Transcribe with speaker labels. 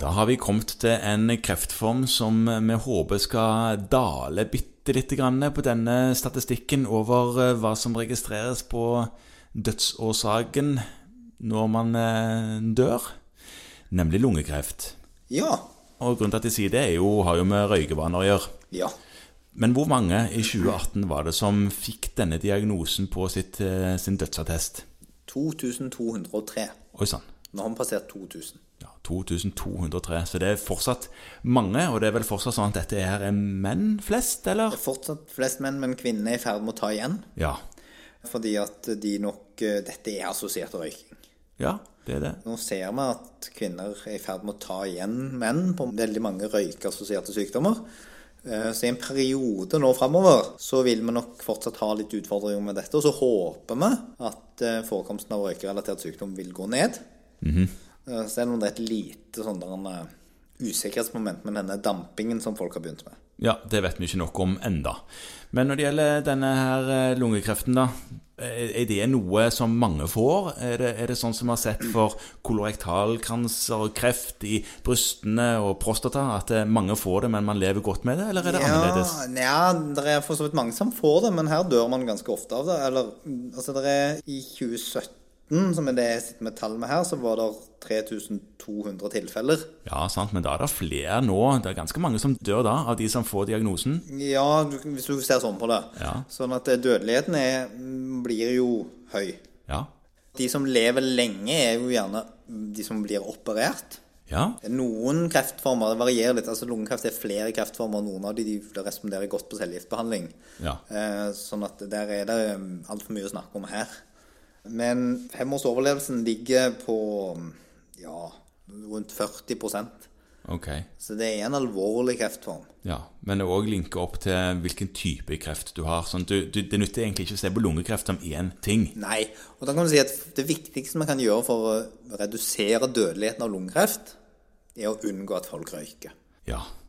Speaker 1: Da har vi kommet til en kreftform som vi håper skal dale bitte lite grann på denne statistikken over eh, hva som registreres på dødsårsaken når man eh, dør, nemlig lungekreft.
Speaker 2: Ja.
Speaker 1: Og grunnen til at de sier det, er jo, har jo med røykevaner å gjøre.
Speaker 2: Ja.
Speaker 1: Men hvor mange i 2018 var det som fikk denne diagnosen på sitt, eh, sin dødsattest?
Speaker 2: 2203.
Speaker 1: Oi sann.
Speaker 2: Nå har vi passert 2000.
Speaker 1: Ja, 2203. Så det er fortsatt mange, og det er vel fortsatt sånn at dette her er menn flest, eller?
Speaker 2: Det er fortsatt flest menn, men kvinnene er i ferd med å ta igjen.
Speaker 1: Ja.
Speaker 2: Fordi at de nok eh, Dette er assosiert røyking.
Speaker 1: Ja, det er det.
Speaker 2: Nå ser vi at kvinner er i ferd med å ta igjen menn på veldig mange røykeassosierte sykdommer. Eh, Så i en periode nå framover så vil vi nok fortsatt ha litt utfordringer med dette. Og så håper vi at eh, forekomsten av røykerelatert sykdom vil gå ned. Eh, Selv om det er et lite sånn der en, eh, usikkerhetsmoment med denne dampingen som folk har begynt med.
Speaker 1: Ja, det vet vi ikke nok om enda. Men når det gjelder denne her eh, lungekreften, da. Er er det noe som mange får? Er det, er det sånn som vi har sett for kolorektalkranser og kreft i brystene og prostata, at eh, mange får det, men man lever godt med det, eller er det annerledes?
Speaker 2: Ja, det er for så vidt mange som får det, men her dør man ganske ofte av det. Eller, mm, altså det er I 2017, som er det jeg sitter med tall med her, så var det 3200 tilfeller.
Speaker 1: Ja, sant, men da er det flere nå. Det er ganske mange som dør da, av de som får diagnosen.
Speaker 2: Ja, du- hvis du ser sånn på det.
Speaker 1: Ja.
Speaker 2: Sånn at eh, dødeligheten er, mm, blir jo høy.
Speaker 1: Ja.
Speaker 2: De som lever lenge, er jo gjerne de som blir operert.
Speaker 1: Ja,
Speaker 2: Noen kreftformer det varierer litt. altså Lungekreft er flere kreftformer. Noen av de, de responderer godt på cellegiftbehandling.
Speaker 1: Ja.
Speaker 2: Eh, sånn at der er det altfor mye å snakke om her. Men femårsoverlevelsen ligger på um, ja, rundt 40
Speaker 1: ok.
Speaker 2: Så det er en alvorlig kreftform.
Speaker 1: Ja, Men det òg linker opp til hvilken type kreft du har. Sånn, du, du, det nytter egentlig ikke å se på lungekreft som én ting.
Speaker 2: Nei. Og da kan du si at det viktigste man kan gjøre for å redusere dødeligheten av lungekreft, er å unngå at folk røyker.
Speaker 1: Ja,